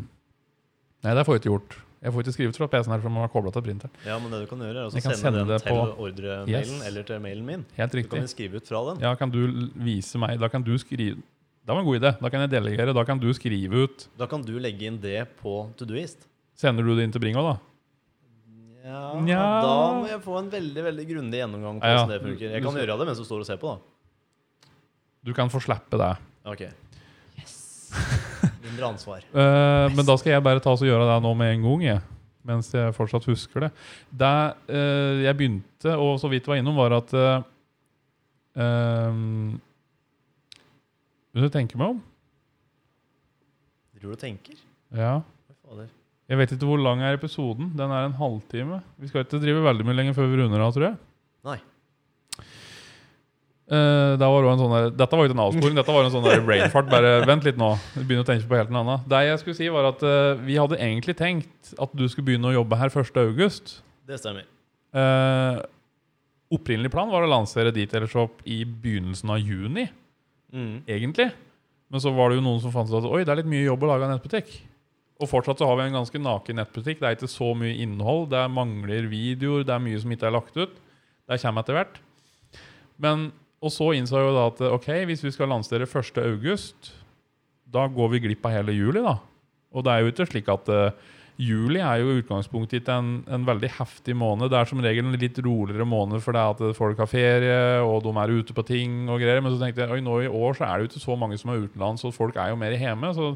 Nei, det får jeg ikke gjort. Jeg får ikke skrevet fra PC-en her, for man har kobla til printeren.
Ja, men det du kan gjøre, er å
Jeg kan
sende,
sende
den
det
til
på-
ordremailen
Yes.
eller til mailen min.
Helt
Du kan
riktig.
jo skrive ut fra den.
Ja, kan du l- vise meg Da kan du skrive Det var en god idé. Da kan jeg delegere. Da kan du skrive ut
Da kan du legge inn det på to doist.
Sender du det inn til Bringo, da?
Ja,
Nja.
Da må jeg få en veldig veldig grundig gjennomgang på
Ja, ja.
hvordan det funker. Jeg kan gjøre det mens du står og ser på, da.
Du kan få slippe det.
Ok. Yes. Mindre ansvar.
Eh, men da skal jeg bare ta og gjøre det nå med en gang, jeg. Mens jeg fortsatt husker det. Det eh, jeg begynte, og så vidt var innom, var at eh, ehm, Hvis du tenker meg om
Tror du tenker?
Ja.
Fy Fader.
Jeg vet ikke hvor lang er episoden. Den er en halvtime. Vi skal ikke drive veldig mye lenger før vi runder av, tror jeg.
Nei.
Eh, det var også en sånn der, dette var jo ikke en avsporing, dette var en sånn der brainfart. Bare vent litt nå. Jeg Begynner å tenke på helt en annen. Det jeg skulle si, var at eh, vi hadde egentlig tenkt at du skulle begynne å jobbe her 1. august.
Det stemmer.
Eh, opprinnelig plan var å lansere Detailershop i begynnelsen av juni,
Mm.
egentlig. Men så var det jo noen som fant ut at oi, det er litt mye jobb å lage en nettbutikk. Og fortsatt så har vi en ganske naken nettbutikk. Det er ikke så mye innhold. Det mangler videoer. Det er mye som ikke er lagt ut. Det kommer etter hvert. Men, Og så innså jeg jo da at ok, hvis vi skal lansere 1. august, da går vi glipp av hele juli, da. Og det er jo ikke slik at eh, juli er jo i utgangspunktet ikke en, en veldig heftig måned. Det er som regel en litt roligere måned fordi at folk har ferie, og de er ute på ting og greier. Men så tenkte jeg oi, nå i år så er det jo ikke så mange som er utenlands, og folk er jo mer hjemme. Så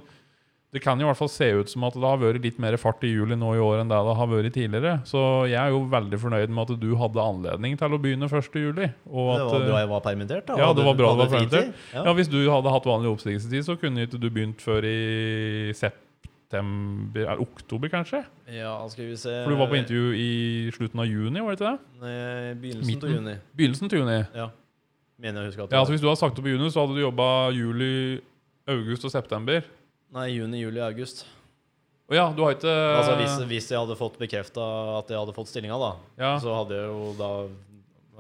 det kan jo i hvert fall se ut som at det har vært litt mer fart i juli nå i år enn det det har vært tidligere. Så jeg er jo veldig fornøyd med at du hadde anledning til å begynne 1. juli. Og at,
Det var
eh,
bra jeg var permittert, da.
ja,
Hadde-
det var bra du
hadde
var
fritid.
permittert.
Ja.
Ja, Hvis du hadde hatt vanlig oppstigelsestid, så kunne ikke du begynt før i september eller oktober, kanskje?
Ja, skal vi se
For du var på intervju i slutten av juni, var det ikke det?
Nei, Begynnelsen
Midten.
av juni.
Begynnelsen til juni.
Ja. Mener jeg å huske at det
Ja, altså,
var.
så Hvis du hadde sagt opp i juni, så hadde du jobba juli, august og september.
Nei, juni, juli, august.
Å ja, du har ikke
Altså hvis, hvis jeg hadde fått bekrefta at jeg hadde fått stillinga, da,
ja.
så hadde jeg jo da jeg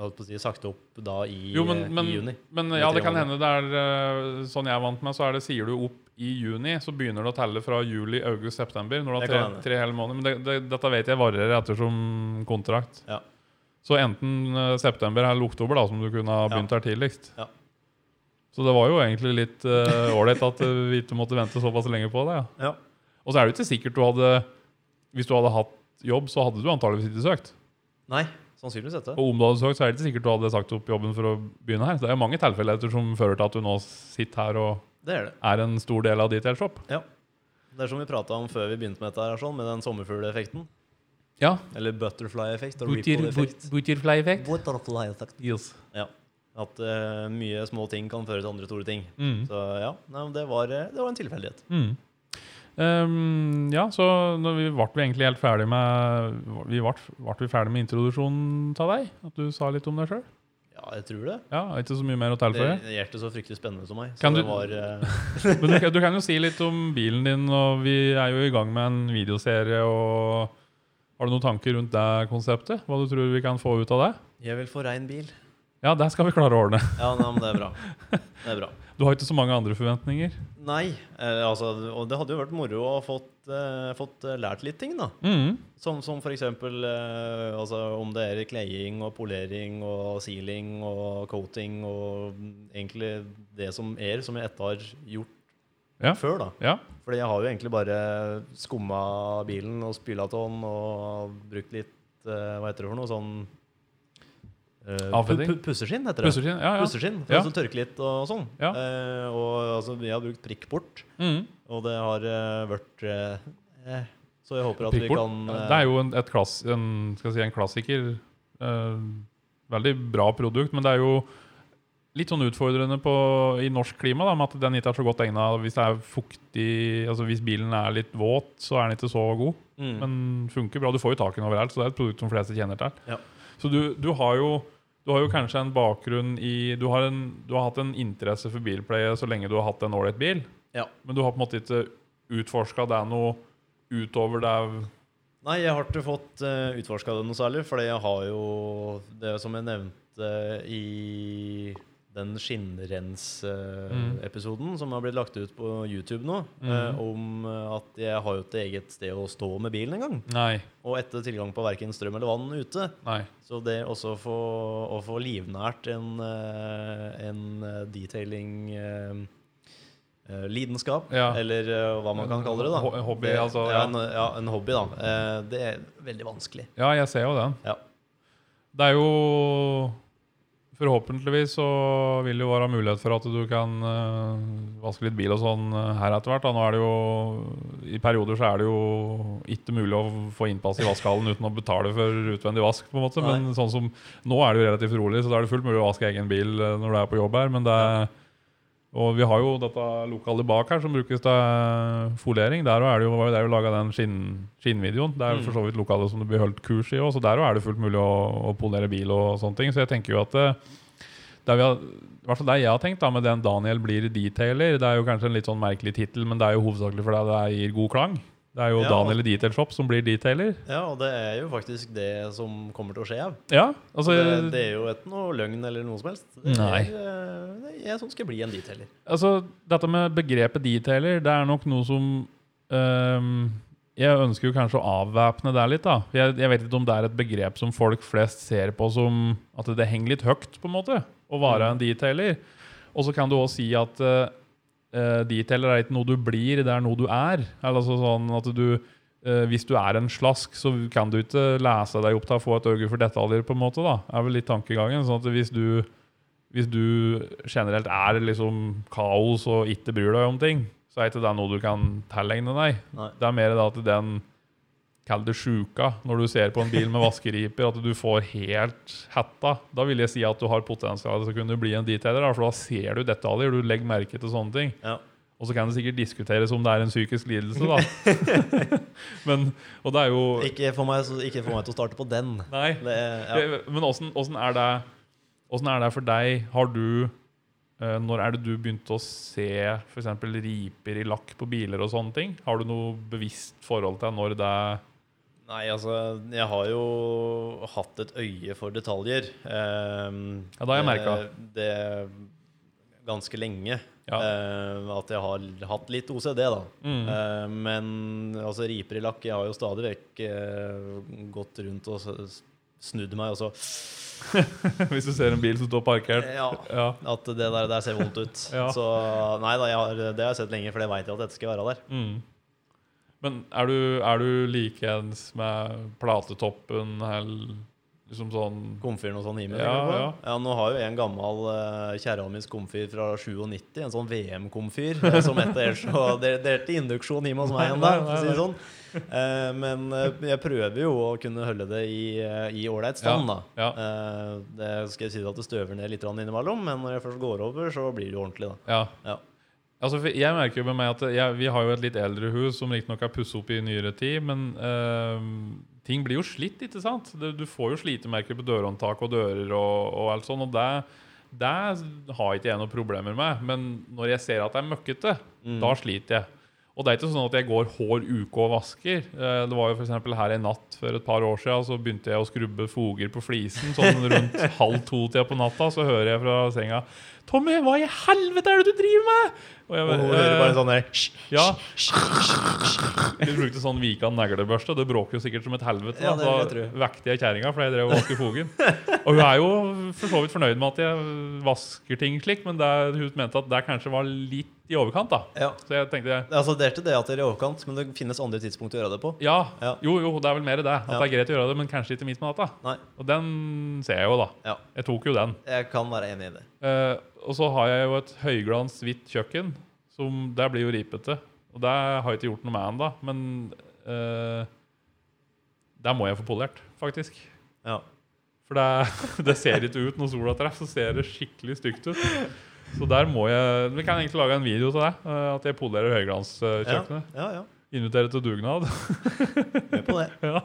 holdt på å si, sagt opp da i, eh,
Jo, men, men,
i juni.
men
I
ja,
tre
det kan
måneder.
hende det er eh, sånn jeg er vant med, så er det sier du opp i juni, så begynner det å telle fra juli, august, september. Når du har
Det
tre,
kan hende.
tre hele måneder. Men det, det, dette vet jeg varer ettersom kontrakt.
Ja.
Så enten eh, september eller oktober, da, som du kunne ha
Ja.
begynt her tidligst.
Ja.
Så det var jo egentlig litt eh, ålreit at eh, vi ikke måtte vente såpass lenge på det.
Ja.
Og så er det jo ikke sikkert du hadde Hvis du hadde hatt jobb, så hadde du antageligvis ikke søkt.
Nei, sannsynligvis dette.
Og om du hadde søkt, så er det ikke sikkert du hadde sagt opp jobben for å begynne her. Det er mange tilfeldigheter som fører til at du nå sitter her og
Det er det.
er en stor del av Detail Shop.
Det er som vi prata om før vi begynte med dette, her, sånn, med den sommerfugleffekten.
Ja.
Eller butterfly-effekt og ripple-effekt.
Butterfly-effekt.
Butterfly-effekt.
Yes.
At eh, mye små ting kan føre til andre store ting.
Mm.
Så ja, nei, men det, var, eh, det var en tilfeldighet.
Mm. Ehm, ja, så når vi ble vi egentlig helt ferdig med Vi ble, ble vi ferdig med introduksjonen til deg? At du sa litt om deg sjøl?
Ja, jeg tror det.
Ja, er ikke så mye mer å tilføye?
Det gjør det så fryktelig spennende som meg. Så
Kan
det
du-
var eh,
Men du, kan- du kan jo si litt om bilen din, og vi er jo i gang med en videoserie. og Har du noen tanker rundt det konseptet? Hva du tror vi kan få ut av det?
Jeg vil få rein bil.
Ja, det skal vi klare å ordne.
Ja, nei, men det er bra. Det er bra.
Du har ikke så mange andre forventninger.
Nei, eh, altså, og det hadde jo vært moro å ha fått, eh, fått eh, lært litt ting, da.
Mhm.
Som, som for eksempel eh, altså, om det er kleiing og polering og sealing og coating og mm, egentlig det som er, som jeg etter har gjort
Ja.
før, da.
Ja.
Fordi jeg har jo egentlig bare skumma bilen og spyla av den og brukt litt, eh, hva heter det for noe, sånn eh,
Avfetting?
pu- pu- Pusseskinn, heter det.
Pusser sin. Ja, ja.
Pusseskinn, for
Ja.
å tørke litt og sånn.
Ja.
Eh, og altså, jeg har brukt prikkbort,
Mhm.
og det har eh, vært eh, eh, Så jeg håper at vi
Prikkbord.
kan eh,
Det er jo en, et klass, en, skal jeg si, en klassiker. Eh, veldig bra produkt, men det er jo litt sånn utfordrende på, i norsk klima da, med at den ikke er så godt egna hvis det er fuktig altså Hvis bilen er litt våt, så er den ikke så god.
mm,
men funker bra. Du får jo tak i den overalt, så det er et produkt som fleste kjenner til.
Ja.
Så du, du, har jo, du har jo kanskje en bakgrunn i du har, en, du har hatt en interesse for bilpleie så lenge du har hatt en ålreit bil,
Ja.
men du har på en måte ikke utforska det noe utover det
Nei, jeg har ikke fått uh, utforska det noe særlig, fordi jeg har jo det som jeg nevnte i den
Mm.
skinnrens-episoden som har blitt lagt ut på YouTube nå,
Mm.
eh, om eh, at jeg har jo ikke eget sted å stå med bilen engang.
Nei.
Og etter tilgang på verken strøm eller vann ute,
nei.
Så det også å få, å få livnært en, eh, en eh, detailing eh, eh, lidenskap,
Ja.
eller eh, hva man kan kalle det. da
Ho- hobby,
det,
altså,
Ja,
ja.
en, ja, en hobby, da. Eh, Det er veldig vanskelig.
Ja, jeg ser jo den.
Ja.
Det er jo Forhåpentligvis så vil det jo være mulighet for at du kan eh, vaske litt bil og sånn eh, her etter hvert. da. Nå er det jo I perioder så er det jo ikke mulig å få innpass i vaskehallen uten å betale for utvendig vask, på en måte.
Nei.
Men sånn som nå er det jo relativt rolig, så da er det fullt mulig å vaske egen bil eh, når du er på jobb her. Men det er og vi har jo dette lokalet bak her som brukes til eh, folering. Der også er det jo, var jo der vi laga den skinn, skinnvideoen. Det er jo
Mm.
for så vidt lokalet som det blir holdt kurs i òg, så der også er det fullt mulig å, å polere bil og sånne ting. Så jeg tenker jo at eh, det vi har, i hvert fall det jeg har tenkt da med den 'Daniel blir detailer', det er jo kanskje en litt sånn merkelig tittel, men det er jo hovedsakelig fordi det gir god klang. Det er jo
Ja.
Daniel i Detail Shop som blir detailer.
Ja, og det er jo faktisk det som kommer til å skje. ja.
Ja, altså
det, det er jo ikke noe løgn eller noe som helst. Det er,
Nei.
eh, det- Jeg som skal bli en detailer.
Altså, dette med begrepet detailer, det er nok noe som øhm, Jeg ønsker jo kanskje å avvæpne det litt, da. Jeg, jeg vet ikke om det er et begrep som folk flest ser på som at det henger litt høyt, på en måte. å være en detailer. Og så kan du også si at eh, eh, detailer er ikke noe du blir, det er noe du er. Eller altså sånn at du eh, Hvis du er en slask, så kan du ikke lese deg opp til å få et øye for detaljer, på en måte. da er vel litt tankegangen. Sånn at hvis du hvis du generelt er liksom kaos og ikke bryr deg om ting, så er ikke det noe du kan tilegne deg.
Nei.
Det er mer da at den Kall det sjuka når du ser på en bil med vaskeriper, at du får helt hetta. Da vil jeg si at du har potensial til å kunne bli en detailer, da, for da ser du detaljer. Du legger merke til sånne ting.
Ja.
Og så kan det sikkert diskuteres om det er en psykisk lidelse, da. Men, og det er jo
Ikke få meg, så- ikke få meg til å starte på den.
Nei.
Det, ja.
Det- Men åssen åssen er det Åssen er det for deg? Har du eh, Når er det du begynte å se f.eks. riper i lakk på biler og sånne ting? Har du noe bevisst forhold til når det
Nei, altså, jeg har jo hatt et øye for detaljer. Eh,
Ja, det har jeg
eh,
merket.
Det ganske lenge.
Ja.
Eh, at jeg har hatt litt OCD, da.
Mm.
Eh, men altså, riper i lakk Jeg har jo stadig vekk eh, gått rundt og s- snudd meg, altså. og så
Hvis du ser en bil som står parkert?
Ja.
Ja.
At det der, der ser vondt ut.
Ja.
Så nei da, jeg har, det har jeg sett lenge, for det veit jeg at dette skal være der.
Mm. Men er du, er du likeens med platetoppen eller liksom sånn
Komfyren og sånn i meg.
Ja,
tenker du på?
ja.
ja, nå har jo jeg en gammel uh, kjerra mis komfyr fra 97, en sånn VM-komfyr, eh, som etter så Det det er ikke induksjon hjemme hos meg
Nei,
ennå,
nei,
for å si
nei,
det sånn. Eh, men eh, jeg prøver jo å kunne holde det i eh, i ålreit stand,
Ja,
da.
ja.
Eh, det skal jeg si at det støver ned litt grann innimellom, men når jeg først går over, så blir det jo ordentlig, da.
Ja.
Ja.
Altså, for jeg merker jo med meg at jeg, vi har jo et litt eldre hus som riktignok er pusset opp i nyere tid, men eh, ting blir jo slitt, ikke sant? Du, du får jo slitemerker på dørhåndtak og dører og, og alt sånt, og det, det har ikke jeg noen problemer med. Men når jeg ser at det er møkkete,
Mm.
da sliter jeg. Og det er ikke sånn at jeg går hår uke og vasker. Eh, Det var jo for eksempel her en natt for et par år siden, så begynte jeg å skrubbe foger på flisen. Sånn rundt halv to-tida på natta, så hører jeg fra senga 'Tommy, hva i helvete er det du driver med?' Og jeg
Og hun
bare,
hører bare
«Eh,
en sånn der «Hysj!»
ja. Vi brukte sånn Vikan neglebørste. Det bråker jo sikkert som et helvete.
Ja,
Da.
det vil jeg
Så vekte jeg kjerringa, for jeg drev og vasket fogen. Og hun er jo for så vidt fornøyd med at jeg vasker ting slik, men det, hun mente at det kanskje var litt i overkant. da
Ja.
Så jeg tenkte
Altså, det er ikke det at det er i overkant, men det finnes andre tidspunkt å gjøre det på.
ja,
Ja.
jo, jo, det er vel mer det. At
Ja.
det er greit å gjøre det, men kanskje ikke midt på natta.
Nei.
Og den ser jeg jo, da.
Ja.
Jeg tok jo den.
Jeg kan være enig i det.
Eh, og så har jeg jo et høyglans hvitt kjøkken. Som der blir jo ripete. Og det har jeg ikke gjort noe med ennå. Men eh, der må jeg få polert, faktisk.
Ja.
For det, det ser ikke ut når sola treffer, så ser det skikkelig stygt ut. Så der må jeg Vi kan egentlig lage en video til det. eh, At jeg polerer høyglanskjøkkenet.
Ja, ja,
Inviterer til dugnad.
ja. Med på det.
Ja.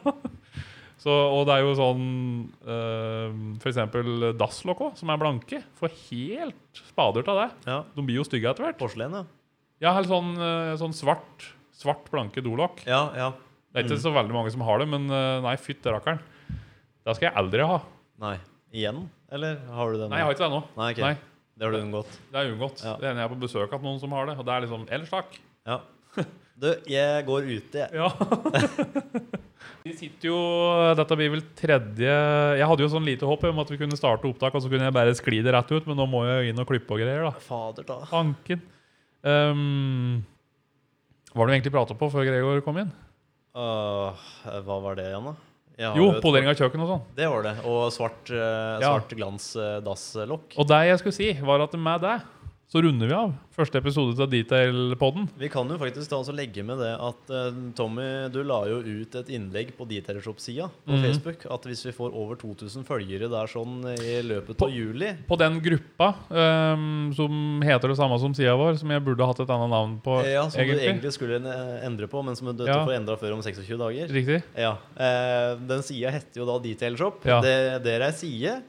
Så, og det er jo sånn eh, For eksempel dasslokk òg, som er blanke. Får helt spader av det.
Ja.
De blir jo stygge etter hvert.
Porselen, ja.
Ja, eller sånn, eh, sånn svart Svart blanke dolokk.
Ja, ja.
Det er ikke
Mm.
så veldig mange som har det, men eh, nei, fytti rakkeren. Det skal jeg aldri ha.
Nei. Igjen? Eller har du den?
Nei, jeg har ikke det ennå.
Nei, ok.
Nei,
Det har du unngått.
det er unngått.
Ja.
Det hender jeg er på besøk at noen som har det. Og det er liksom Ellers takk.
Ja. Du, jeg går ute, jeg.
Ja. Vi sitter jo eh, Dette blir vel tredje Jeg hadde jo sånn lite håp om at vi kunne starte opptak, og så kunne jeg bare skli det rett ut, men nå må jeg inn og klippe og greier, da.
Fader, da.
Anken. Um, hva var det vi egentlig prata på før Gregor kom inn?
Åh, hva var det igjen, da? Jeg har
Jo,
et-
polering av kjøkken og sånn.
Det var det. Og svart, eh,
Ja.
svart glans eh, dasslokk.
Og det jeg skulle si, var at med det så runder vi av første episode av Detail-podden.
Vi kan jo faktisk ta oss og legge med det at eh, Tommy, du la jo ut et innlegg på Detailshop-sida på
Mhm.
Facebook at hvis vi får over 2000 følgere der sånn i løpet
På-
av juli
På den gruppa um, som heter det samme som sida vår, som jeg burde hatt et annet navn på.
Ja, som du egentlig skulle eh, endre på, men som du
Ja.
får endra før om 26 dager.
Riktig.
Ja. Eh, den sida heter jo da Detail Shop.
Ja.
Det, dere er side,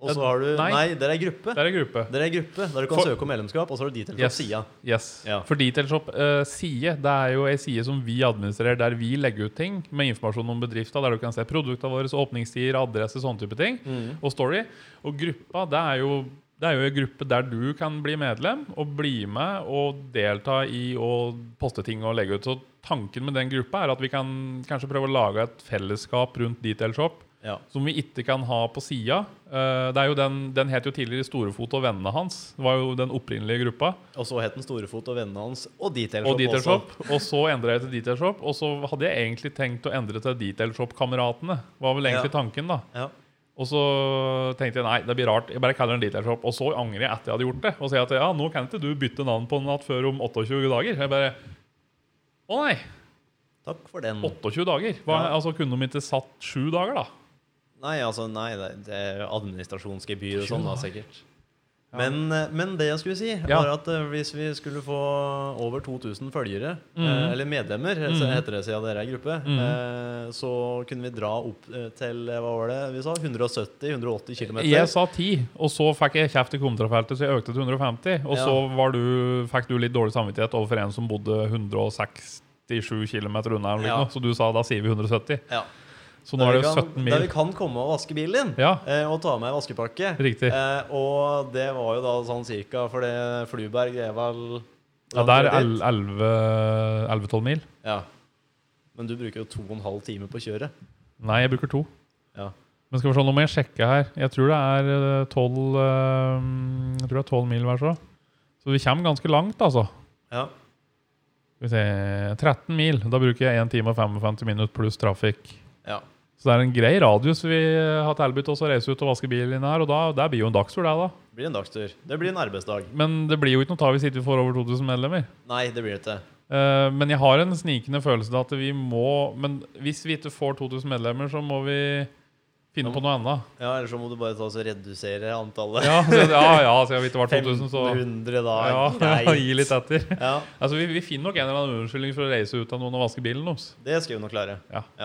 og så
Ja,
har du
nei.
Nei, dere er gruppe.
Det er en gruppe.
Dere er gruppe der du kan
For-
søke om medlemskap, og så har du Detail
Yes.
Shop-sida.
Yes.
Ja.
For Detailshop eh, side, det er jo ei side som vi administrerer, der vi legger ut ting med informasjon om bedrifta, der du kan se produktene våre, åpningstider, adresse, sånne type ting, og story. Og gruppa, det er jo det er jo en gruppe der du kan bli medlem og bli med og delta i og poste ting og legge ut. Så tanken med den gruppa er at vi kan kanskje prøve å lage et fellesskap rundt Detailshop
Ja.
som vi ikke kan ha på sida. Eh, det er jo den, den het jo tidligere Storefot og vennene hans. Det var jo den opprinnelige gruppa.
Og så het den Storefot og vennene hans og Detailshop.
Og Detail Shop. Og så endra jeg til Detail Shop. Og så hadde jeg egentlig tenkt å endre til Detail Shop-kameratene. Var vel egentlig tanken, da.
Ja.
Og så tenkte jeg nei, det blir rart. Jeg bare kaller den Detail Shop. Og så angrer jeg etter jeg hadde gjort det. Og sier at ja, nå kan ikke du bytte navn på den at før om 28 dager. Jeg bare Å nei!
Takk for den.
28 dager? Hva,
Ja.
Altså Kunne de ikke satt sju dager, da?
Nei, altså, nei, det, det er administrasjonsgebyr og
Sju
sånn, da,
dager.
sikkert. Men, eh, men det jeg skulle si,
Ja.
var at eh, hvis vi skulle få over 2000 følgere, eh,
Mhm.
eller medlemmer, eh, så
Mhm.
heter det siden dere er gruppe, eh, så kunne vi dra opp eh, til eh, hva var det vi sa, 170-180 km.
Jeg sa 10, og så fikk jeg kjeft i kommentarfeltet, så jeg økte til 150. Og
Ja.
så var du, fikk du litt dårlig samvittighet overfor en som bodde 167 km unna, eller
Ja.
noe, så du sa da sier vi 170.
Ja.
Så nå er det jo
Der vi
17
kan, Der
mil.
vi kan komme og vaske bilen din,
Ja.
eh, og ta med vaskepakke.
Riktig.
Eh, og det var jo da sånn cirka, for det Fluberg det er vel
Ja, der er 11-12 mil.
Ja. Men du bruker jo to og en halv time på kjøret.
Nei, jeg bruker to.
Ja.
Men skal vi se, nå må jeg sjekke her. Jeg tror det er eh, 12, eh, jeg tror det er 12 mil hver så. Så vi kommer ganske langt, altså.
Ja.
Skal vi se, 13 mil. Da bruker jeg 1 time og 55 minutter pluss trafikk.
ja.
Så det er en grei radius vi har tilbudt oss å reise ut og vaske bilen inn her, og da, der blir jo en dagstur, det, da.
Det blir en dagstur. Det blir en arbeidsdag.
Men det blir jo ikke noe ta hvis ikke vi får over 2000 medlemmer.
Nei, det blir det ikke.
Eh, men jeg har en snikende følelse av at vi må Men hvis vi ikke får 2000 medlemmer, så må vi finne
Mm.
på noe annet.
Ja, Eller så må du bare ta og så redusere antallet.
Ja, så, ja, ja, så jeg har ikke vært 2000, så
500 da.
ja,
Nei.
Gi litt etter.
Ja,
Altså, vi, vi finner nok en eller annen unnskyldning for å reise ut av noen og vaske bilen deres.
det skal vi nok klare.
Ja.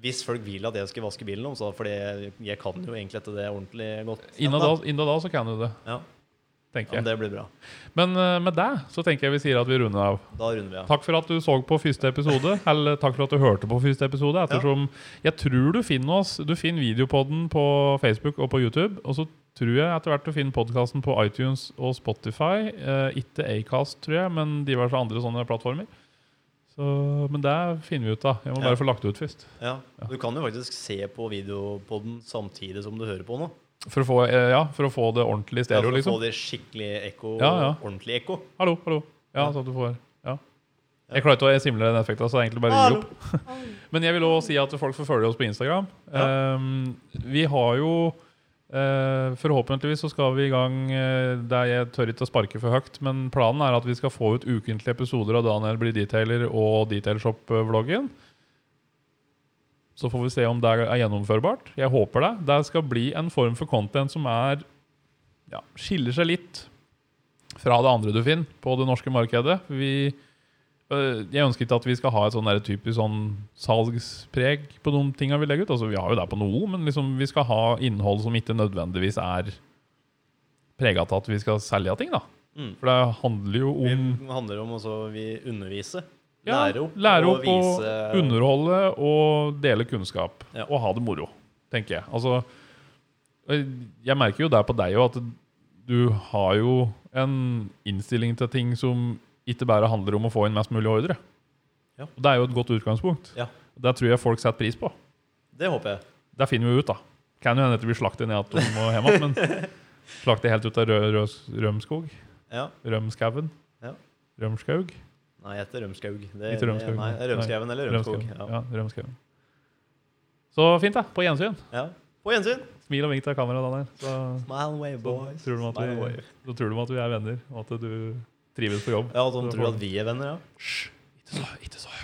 Hvis folk vil at jeg skal vaske bilen om, så for det- jeg kan jo egentlig ikke det ordentlig godt.
Inna da,
enda.
inna da så kan du det,
Ja, ja,
tenker jeg.
men det blir bra.
Men eh, med det så tenker jeg vi sier at vi runder av.
Da runder vi av.
Takk for at du så på første episode, eller takk for at du hørte på første episode. Ettersom jeg tror du finner oss Du finner videopodden på Facebook og på YouTube. Og så tror jeg etter hvert du finner podkasten på iTunes og Spotify. Eh, ikke Acast, tror jeg, men diverse andre sånne plattformer. Så, men det finner vi ut av. Jeg må
Ja.
bare få lagt det ut først.
Ja. Du kan jo faktisk se på videopodden samtidig som du hører på nå.
For å få, eh, ja, for å få det ordentlig i
Ja,
stereo,
for å få
liksom.
det skikkelig ekko.
Ja, ja.
Ordentlig ekko.
Hallo, hallo. Ja, så at du får Ja. Jeg klarer ikke å simle den effekten, så det er egentlig bare å gi
Hallo.
opp. Men jeg vil òg si at folk får følge oss på Instagram. Ehm, vi har jo eh, Forhåpentligvis så skal vi i gang eh, der jeg tør ikke å sparke for høyt, men planen er at vi skal få ut ukentlige episoder av Daniel blir detailer og Detailshop-vloggen. Så får vi se om det er gjennomførbart. Jeg håper det. Det skal bli en form for content som er ja, skiller seg litt fra det andre du finner på det norske markedet. Vi Øh, Jeg ønsker ikke at vi skal ha et sånn der typisk sånn salgspreg på de tinga vi legger ut. Altså, vi har jo det på noe, men liksom, vi skal ha innhold som ikke nødvendigvis er prega av at vi skal selge ting. da.
Mm.
For det handler jo
Vi
om
handler om å undervise.
ja,
lære opp.
lære opp og,
vise-
underholde og dele kunnskap.
Ja.
Og ha det moro, tenker jeg. Altså, øh, jeg merker jo der på deg jo at du har jo en innstilling til ting som ikke bare handler om å få inn mest mulig ordre.
Ja.
Og Det er jo et godt utgangspunkt.
Ja.
Det tror jeg folk setter pris på.
Det håper jeg.
Der finner vi ut, da. Kan jo hende at vi slakter ned at de må hjem igjen, men slakter helt ut av rød, rød, Rømskog.
Ja.
Rømskauen.
Ja.
Rømskaug.
Nei, jeg heter Rømskaug. Det,
Ikke Rømskaug,
Nei,
nei.
Rømskauen eller Rømskog.
Rømskaug.
Ja.
Ja, Rømskauen. Så fint, da. På gjensyn.
ja. På gjensyn.
Smil og vink til kameraet, Daniel. Så,
Smile away,
så,
boys.
tror de at
Smile
vi,
away.
så tror de at vi er venner, og at du trives på jobb.
Ja, sånn at de tror at vi er venner, ja.
Hysj! Ikke så, ikke så høyt.